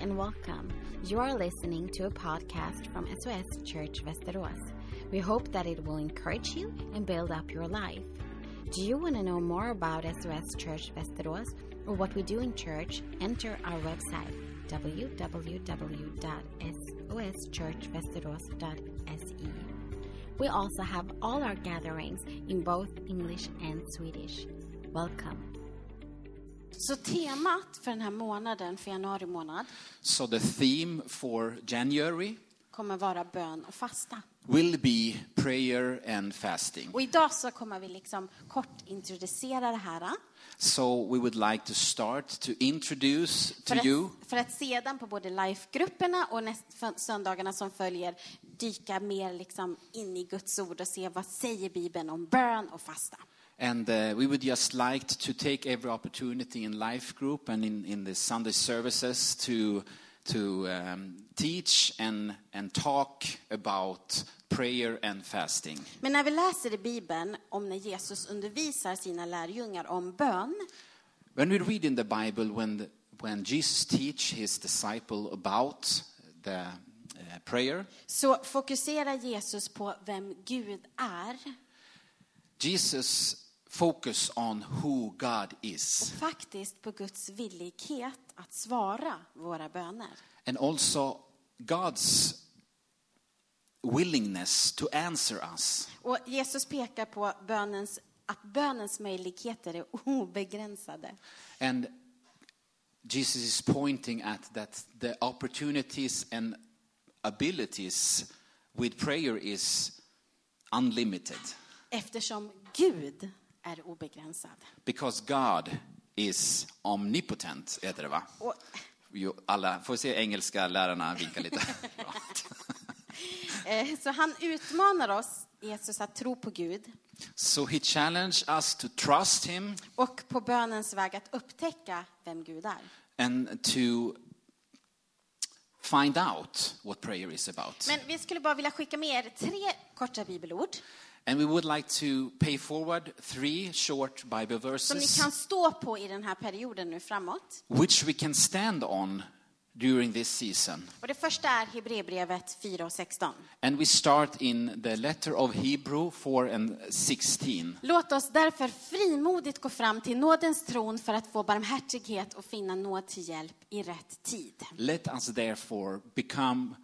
and welcome. You are listening to a podcast from SOS Church Västerås. We hope that it will encourage you and build up your life. Do you want to know more about SOS Church Västerås or what we do in church? Enter our website www.soschurchvesteros.se. E. We also have all our gatherings in both English and Swedish. Welcome. Så temat för den här månaden, för januari månad, So the theme for January kommer vara bön och fasta. will be prayer and fasting. Och idag så kommer vi liksom kort introducera det här. So we would like to start to introduce För to you att, för att sedan på både life-grupperna och näst, för- söndagarna som följer dyka mer liksom in i Guds ord och se vad säger Bibeln om bön och fasta. and uh, we would just like to take every opportunity in life group and in, in the Sunday services to to um, teach and and talk about prayer and fasting. Men när vi läser i Bibeln om när Jesus undervisar sina lärjungar om bön When we read in the Bible, when, the, when Jesus teach his disciple about the uh, prayer, så fokuserar Jesus på vem Gud är. Jesus focus on who God is Faktiskt på Guds villighet att svara våra böner. and also God's willingness to answer us. Och Jesus pekar på bönens, att bönens möjligheter är obegränsade. And Jesus is pointing at that the opportunities and abilities with prayer is unlimited Eftersom Gud är obegränsad. because God is omnipotent, heter det va? Och, Jo, alla, får se engelska lärarna vika lite. eh, så han utmanar oss, Jesus, att tro på Gud so he challenged us to trust him och på bönens väg att upptäcka vem Gud är. and to find out what prayer is about. Men vi skulle bara vilja skicka med er tre korta bibelord and we would like to pay forward three short Bible som ni verses kan stå på i den här perioden nu framåt. which we can stand on during this season. Och det första är Hebreerbrevet 4 och 16. And we start in the letter of Hebrew 4 and 16. Låt oss därför frimodigt gå fram till nådens tron för att få barmhärtighet och finna nåd till hjälp i rätt tid. Let us therefore become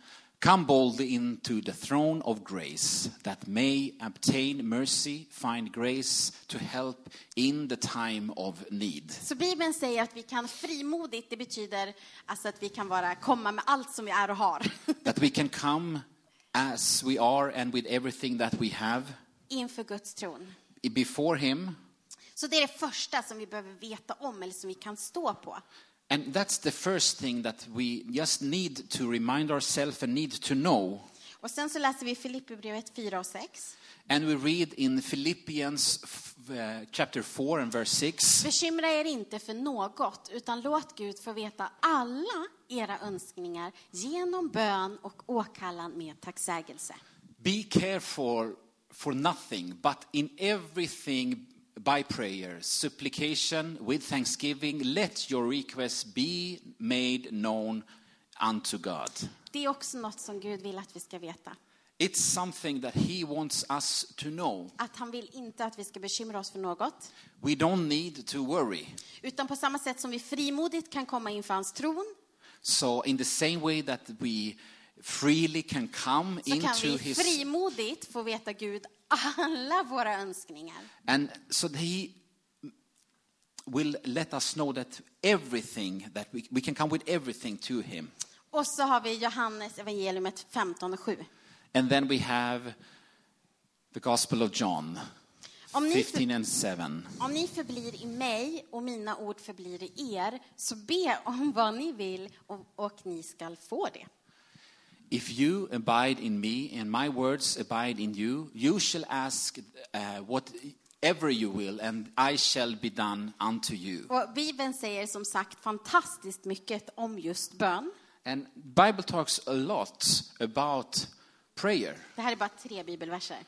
come boldly into the throne of grace that may obtain mercy, find grace to help in the time of need. Så Bibeln säger att vi kan frimodigt, det betyder alltså att vi kan vara, komma med allt som vi är och har that we can come as we are and with everything that we have inför Guds tron. before Him. Så det är det första som vi behöver veta om eller som vi kan stå på. And that's the first thing that we just need to remind ourselves and need to know. Och sen så läser vi Filipperbrevet 4 och 6. And we read in Philippians f- uh, chapter 4 and verse 6 Bekymra er inte för något, utan låt Gud få veta alla era önskningar genom bön och åkallan med tacksägelse. Be careful for nothing, but in everything by prayer, supplication, with thanksgiving, let your requests be made known unto God. Det är också något som Gud vill att vi ska veta. It's something that He wants us to know. Att han vill inte att vi ska bekymra oss för något, We don't need to worry. utan på samma sätt som vi frimodigt kan komma inför hans tron, So, in the same way that we freely can come så kan into vi His. frimodigt få veta Gud alla våra önskningar. And so that He will let us know that everything, that we, we can come with everything to Him. Och så har vi Johannes evangeliet 15 och 7. And then we have the Gospel of John, Om ni, 15 and 7. Om ni förblir i mig och mina ord förblir i er, så be om vad ni vill och, och ni skall få det. If you abide in me and my words abide in you, you shall ask uh, whatever you will, and I shall be done unto you. Och Bibeln säger som sagt fantastiskt mycket om just bön. And Bible talks a lot about prayer. Det här är bara tre bibelverser.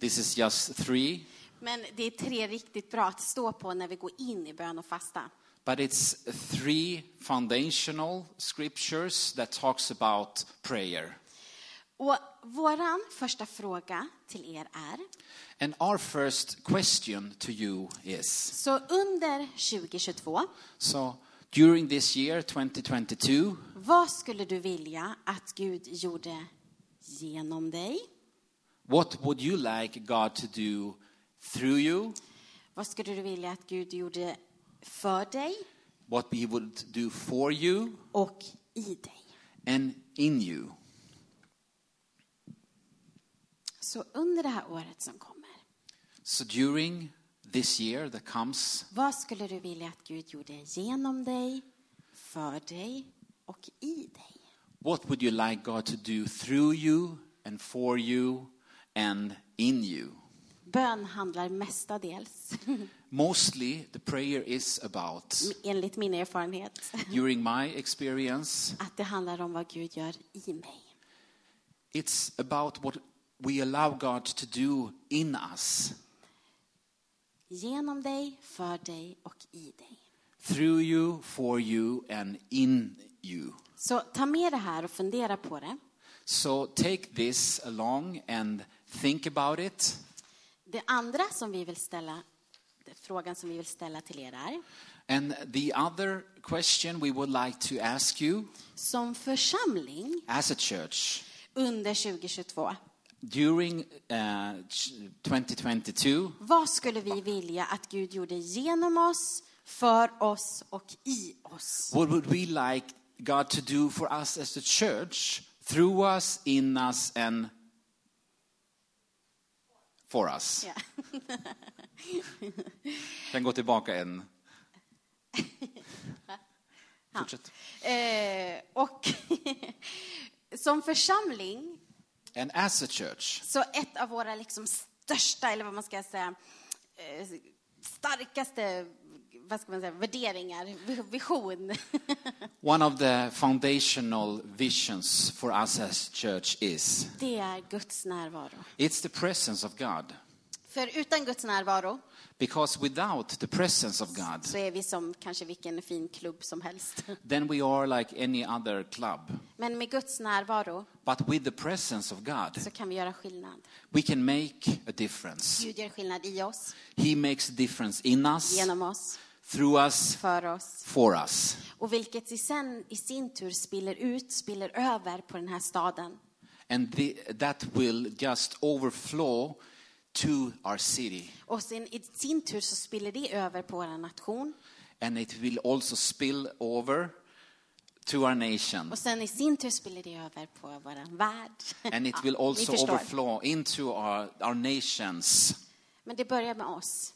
This is just three, Men det är tre riktigt bra att stå på när vi går in i bön och fasta. But it's three foundational scriptures that talks about prayer. Och våran första fråga till er är, And our first question to you is så under 2022, so during this year 2022 vad skulle du vilja att Gud gjorde genom dig? what would you like God to do through you Vad skulle du vilja att Gud gjorde för dig what he would do for you och i dig? and in you Så under det här året som kommer, so during this year that comes vad skulle du vilja att Gud gjorde genom dig, för dig och i dig? what would you like God to do through you and for you and in you Bön handlar mestadels, mostly the prayer is about enligt min erfarenhet, during my experience att det handlar om vad Gud gör i mig. it's about what we allow God to do in us Genom dig, för dig och i dig. through you, for you, and in you. Så ta med det här och fundera på det. So take this along and think about it. Det andra som vi vill ställa, frågan som vi vill ställa till er är, And the other question we would like to ask you som församling as a church under 2022, during uh, ch- 2022 vad skulle vi vilja att Gud gjorde genom oss, för oss och i oss? what would we like God to do for us as a church through us, in us, and for us? Ja. Kan gå tillbaka en. Fortsätt. Eh, och som församling, And as a church, så ett av våra liksom största, eller vad man ska säga, eh, starkaste vad ska man säga, värderingar, vi- vision, one of the foundational visions for us as church is det är Guds närvaro. it's the presence of God. För utan Guds närvaro Because without the presence of God, så är vi som kanske vilken fin klubb som helst. then we are like any other club. Men med Guds närvaro But with the presence of God, så kan vi göra skillnad. we can make a difference. Gud gör skillnad i oss, He makes a difference in us, genom oss, through us, för oss. for us. Och vilket i, sen, i sin tur spiller ut, spiller över på den här staden. And the, that will just overflow to our city. Och sen, i sin tur så spiller det över på vår nation. And it will also spill over to our nation. Och sen i sin tur spiller det över på vår värld. And it will Ja, Ah, ni also förstår. overflow into our, our nations. Men det börjar med oss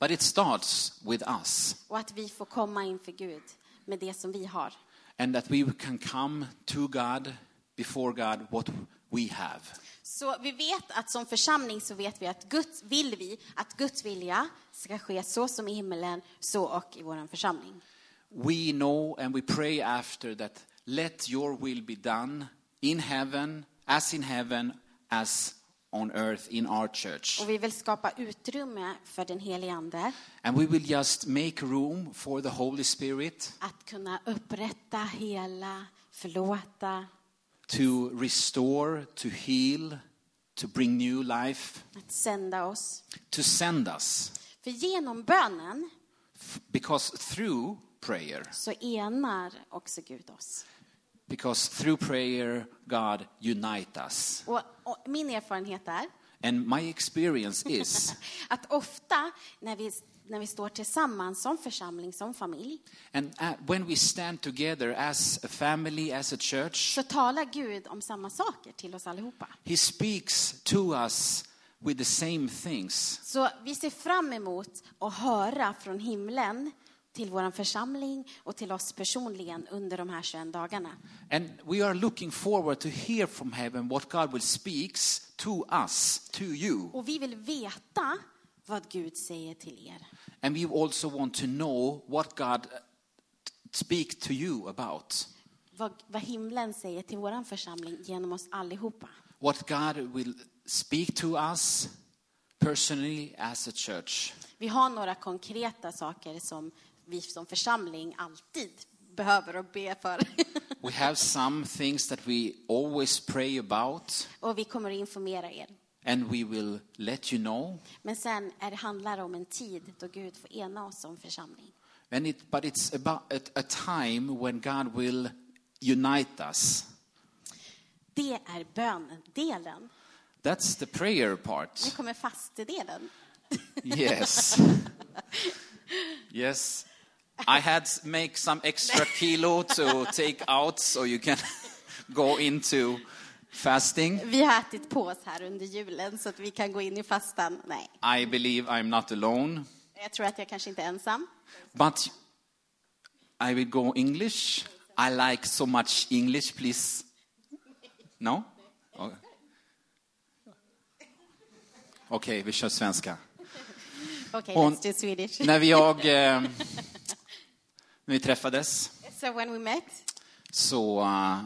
But it starts with us. och att vi får komma inför Gud med det som vi har. and that we can come to God, before God, what we have. Så vi vet att som församling så vet vi att Guds, vill vi att Guds vilja ska ske så som i himmelen, så och i vår församling. We know and we pray after that, let your will be done in heaven, as in heaven, as on earth in our church. Och vi vill skapa utrymme för den helige Ande And we will just make room for the Holy Spirit att kunna upprätta, hela, förlåta, to restore, to heal, to bring new life, att sända oss. to send us. För genom bönen F- Because through prayer, så enar också Gud oss. because through prayer, God unite us. Och, och min erfarenhet är And my experience is, att ofta när vi, när vi står tillsammans som församling, som familj, and uh, when we stand together as a family, as a church, så talar Gud om samma saker till oss allihopa. He speaks to us with the same things. Så vi ser fram emot att höra från himlen till vår församling och till oss personligen under de här 21 dagarna. And we are looking forward to hear from heaven what God will speaks to us, to you. Och vi vill veta vad Gud säger till er. And we also want to know what God uh, speak to you about. Vad, vad himlen säger till vår församling genom oss allihopa. What God will speak to us personally as a church. Vi har några konkreta saker som vi som församling alltid behöver och be för. We have some things that we always pray about, och vi kommer att informera er. and we will let you know. Men sen är det handlar om en tid då Gud får ena oss som församling. And it, but it's about at a time when God will unite us. Det är böndelen. That's the prayer Nu part. kommer fastedelen. Yes. yes. I had s- make some extra kilo to take out so you can go into fasting. Vi har ätit på oss här under julen så att vi kan gå in i fastan. Nej, I believe I'm not alone, jag tror att jag kanske inte är ensam. but I will go English. I like so much English, please. No? Okay. Okej, vi kör svenska. Okej, Och- let's do Swedish. När vi jag, eh, när vi träffades So when we met, så eh,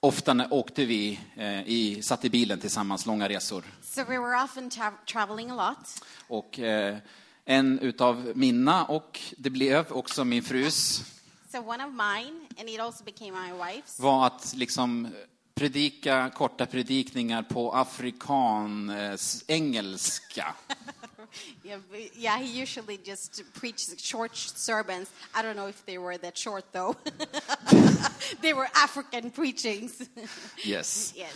ofta när åkte vi, eh, i, satt i bilen tillsammans långa resor. so we were often tra- traveling a lot. Och eh, en utav mina och det blev också min frus So one of mine, and it also became my wife's, var att liksom predika korta predikningar på afrikan eh, s- engelska. Yeah, b- yeah, he usually just preached short sermons. I don't know if they were that short though. they were African preachings. Yes. yes,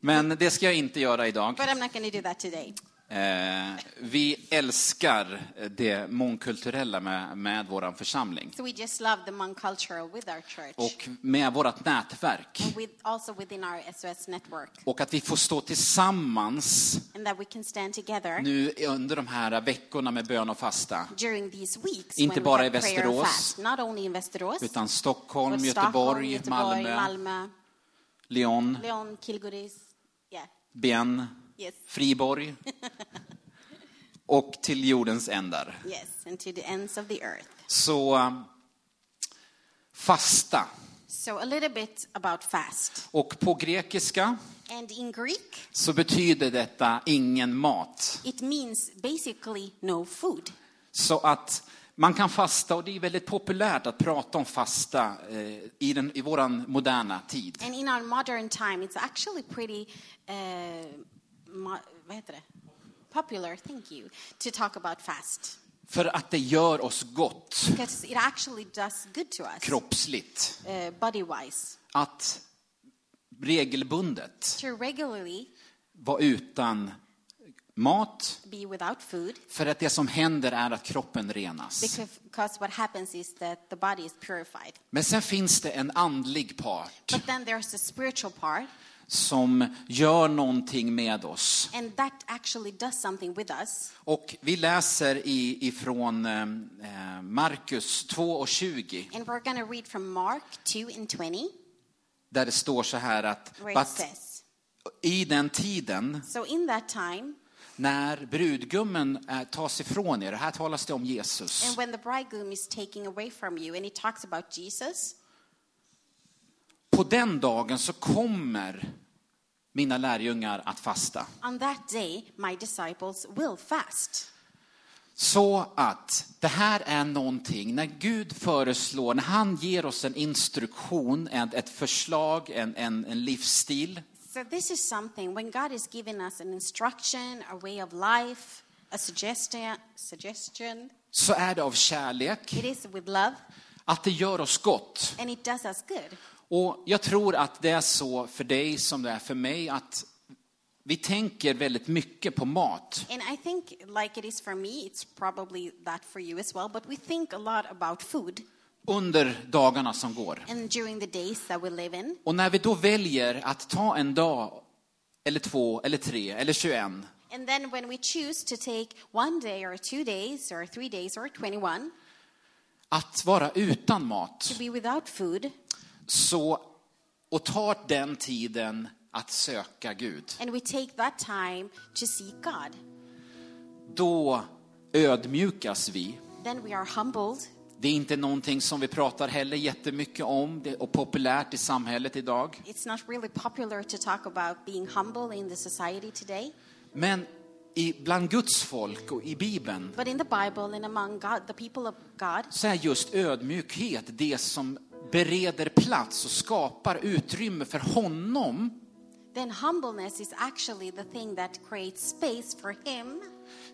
Men det ska jag inte göra idag. but I'm not going to do that today. Eh, vi älskar det mångkulturella med, med vår församling So we just love the Hmong culture with our church, och med vårt nätverk. and with also within our SOS network, Och att vi får stå tillsammans and that we can stand together nu under de här veckorna med bön och fasta. during these weeks. Inte when bara we i have prayer and Västerås. fast, not only in Västerås, Utan but Stockholm, Stockholm, Göteborg, Göteborg, Malmö, Malmö, Lyon, Leon, Kilgoris. Yeah, Ben, yes, Friborg och till jordens ändar. yes, and to the ends of the earth. Så eh, fasta. So, a little bit about fast. Och på grekiska And in Greek, så betyder detta ingen mat. it means basically no food. Så att man kan fasta och det är väldigt populärt att prata om fasta eh, i, den, i våran moderna tid. And in our modern time, it's actually pretty uh, mo- vad heter det? popular, thank you, to talk about fast. För att det gör oss gott Because it actually does good to us, kroppsligt. uh, body wise, Att regelbundet to regularly vara utan mat. be without food. För att det som händer är att kroppen renas. Because, because what happens is that the body is purified. Men sen finns det en andlig part But then there's the spiritual part, som gör någonting med oss. and that actually does something with us. Och vi läser i, ifrån eh, Markus 2 och 20 And we're going to read from Mark 2 and 20, där det står så här att where it "But says, i den tiden So in that time, när brudgummen eh, tas ifrån er, här talas det om Jesus, and when the bridegroom is taken away from you, and he talks about Jesus, på den dagen så kommer mina lärjungar att fasta. on that day my disciples will fast. Så att det här är någonting, när Gud föreslår, när han ger oss en instruktion, en, ett förslag, en, en, en livsstil, So this is something when God is giving us an instruction, a way of life, a suggestion, suggestion, så är det av kärlek, it is with love, att det gör oss gott. and it does us good. Och jag tror att det är så för dig som det är för mig, att vi tänker väldigt mycket på mat. And I think, like it is for me, it's probably that for you as well. But we think a lot about food, under dagarna som går. and during the days that we live in, Och när vi då väljer att ta en dag, eller två, eller tre, eller 21, And then when we choose to take one day or two days or three days or 21 att vara utan mat, to be without food, så, och tar den tiden att söka Gud, and we take that time to seek God, då ödmjukas vi. then we are humbled. Det är inte någonting som vi pratar heller jättemycket om det är och populärt i samhället idag. It's not really popular to talk about being humble in the society today, Men i, bland Guds folk och i Bibeln But in the Bible and among God, the people of God, så är just ödmjukhet det som bereder plats och skapar utrymme för honom. then humbleness is actually the thing that creates space for Him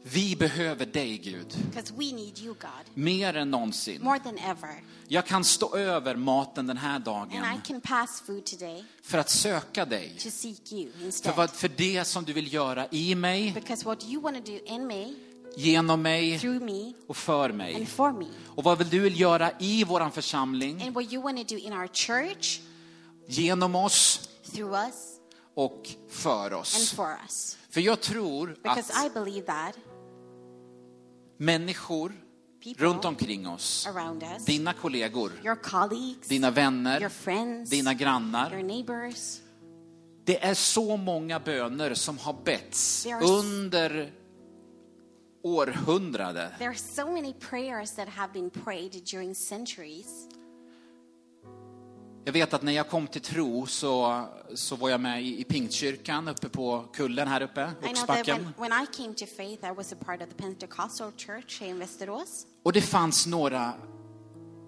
Vi behöver dig Gud, because we need you, God, mer än någonsin. more than ever. Jag kan stå över maten den här dagen And I can pass food today för att söka dig. to seek you För, instead. vad, för det som du vill göra i mig, Because what you want to do in me, genom mig through me, och för and mig. for me, Och vad vill du vill göra i våran församling, and what you want to do in our church, genom oss through us, och för and oss. for us. För jag tror Because att I believe that människor people runt omkring oss, around us, dina kollegor, your colleagues, dina your vänner, friends, dina your grannar. neighbors, Det är så många böner som har betts There are s- under århundraden. there are so many prayers that have been prayed during centuries. Jag vet att när jag kom till tro så, så var jag med i, i Pingstkyrkan uppe på kullen här uppe, I know that when, uppsbacken. when I came to faith, I was a part of the Pentecostal church here in Västerås, Och det fanns några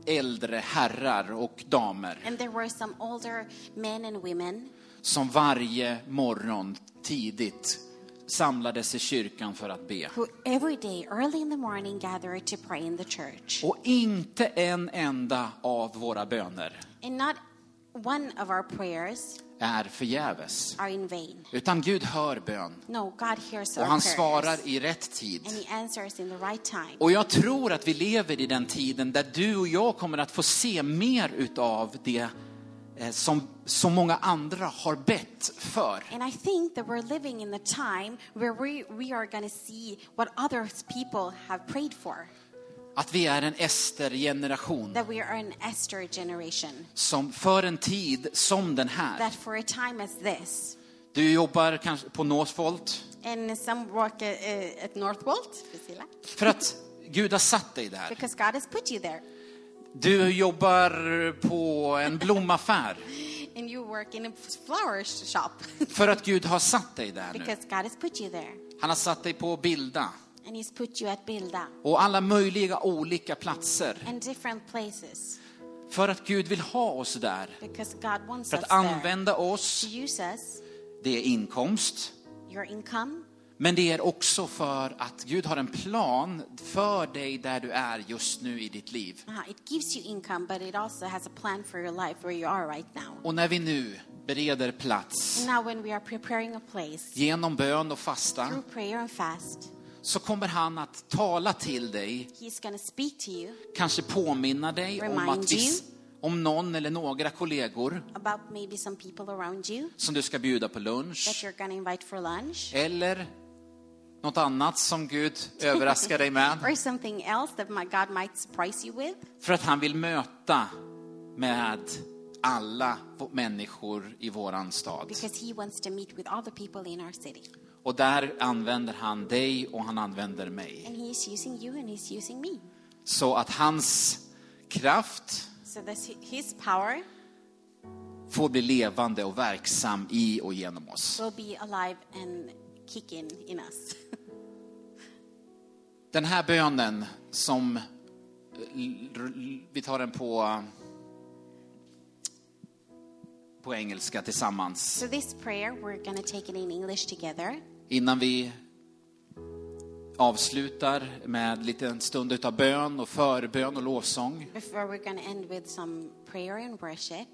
äldre herrar och damer and there were some older men and women som varje morgon tidigt samlades i kyrkan för att be. who every day, early in the morning, gathered to pray in the church. Och inte en enda av våra böner And not one of our prayers är förgäves. are in vain. Utan Gud hör bön No, God hears och our han prayers, svarar i rätt tid. and He answers in the right time. Och jag tror att vi lever i den tiden där du och jag kommer att få se mer utav det eh, som så många andra har bett för. And I think that we're living in the time where we, we are going to see what other people have prayed for, Att vi är en Ester-generation that we are an Esther generation, som för en tid som den här. that for a time as this, Du jobbar kanske på Northvolt and some work at, at Northvolt, Priscilla, för att Gud har satt dig där. because God has put you there, Du jobbar på en blomaffär and you work in a flower shop, för att Gud har satt dig där nu. because God has put you there, Han har satt dig på Bilda and He's put you at Bilda och alla möjliga olika platser and different places, för att Gud vill ha oss där. because God wants För us att there använda to oss, use us, det är inkomst, your income, men det är också för att Gud har en plan för dig där du är just nu i ditt liv. Uh, it gives you income, but it also has a plan for your life where you are right now. Och när vi nu bereder plats Now, when we are preparing a place genom bön och through fasta prayer and fast, så kommer han att tala till dig, He's going to speak to you kanske påminna dig om Remind att vi, you. om någon eller några kollegor about maybe some people around you som du ska bjuda på that lunch you're going to invite for lunch eller något annat som Gud överraskar dig med. or something else that my God might surprise you with För att han vill möta med alla människor i våran stad. because He wants to meet with all the people in our city. Och där använder han dig och han använder mig. And He's using you and He's using me. Så att hans kraft So that's hi- His power får bli levande och verksam i och genom oss. will be alive and kicking in us. Den här bönen som l- l- vi tar den på på engelska tillsammans so, this prayer, we're going to take it in English together. innan vi avslutar med lite en stund utav bön och förbön och lovsång. Before we're going to end with some prayer and worship.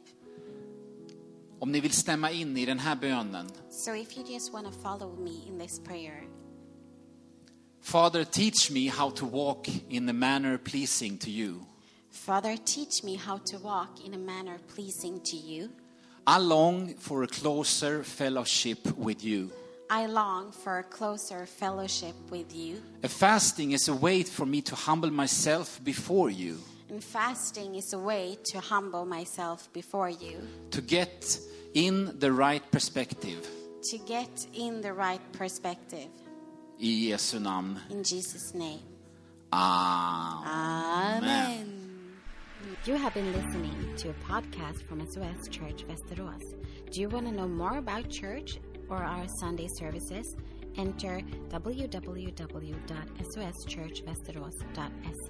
Om ni vill stämma in i den här bönen. So if you just want to follow me in this prayer, Father, teach me how to walk in a manner pleasing to you. Father, teach me how to walk in a manner pleasing to you. I long for a closer fellowship with you. I long for a closer fellowship with you, A fasting is a way for me to humble myself before you, and fasting is a way to humble myself before you, to get in the right perspective. to get in the right perspective. I Jesu namn. In Jesus' name. Amen. Amen. You have been listening to a podcast from SOS Church Västerås. Do you want to know more about church or our Sunday services? enter E. www.soschurchvesteros.se.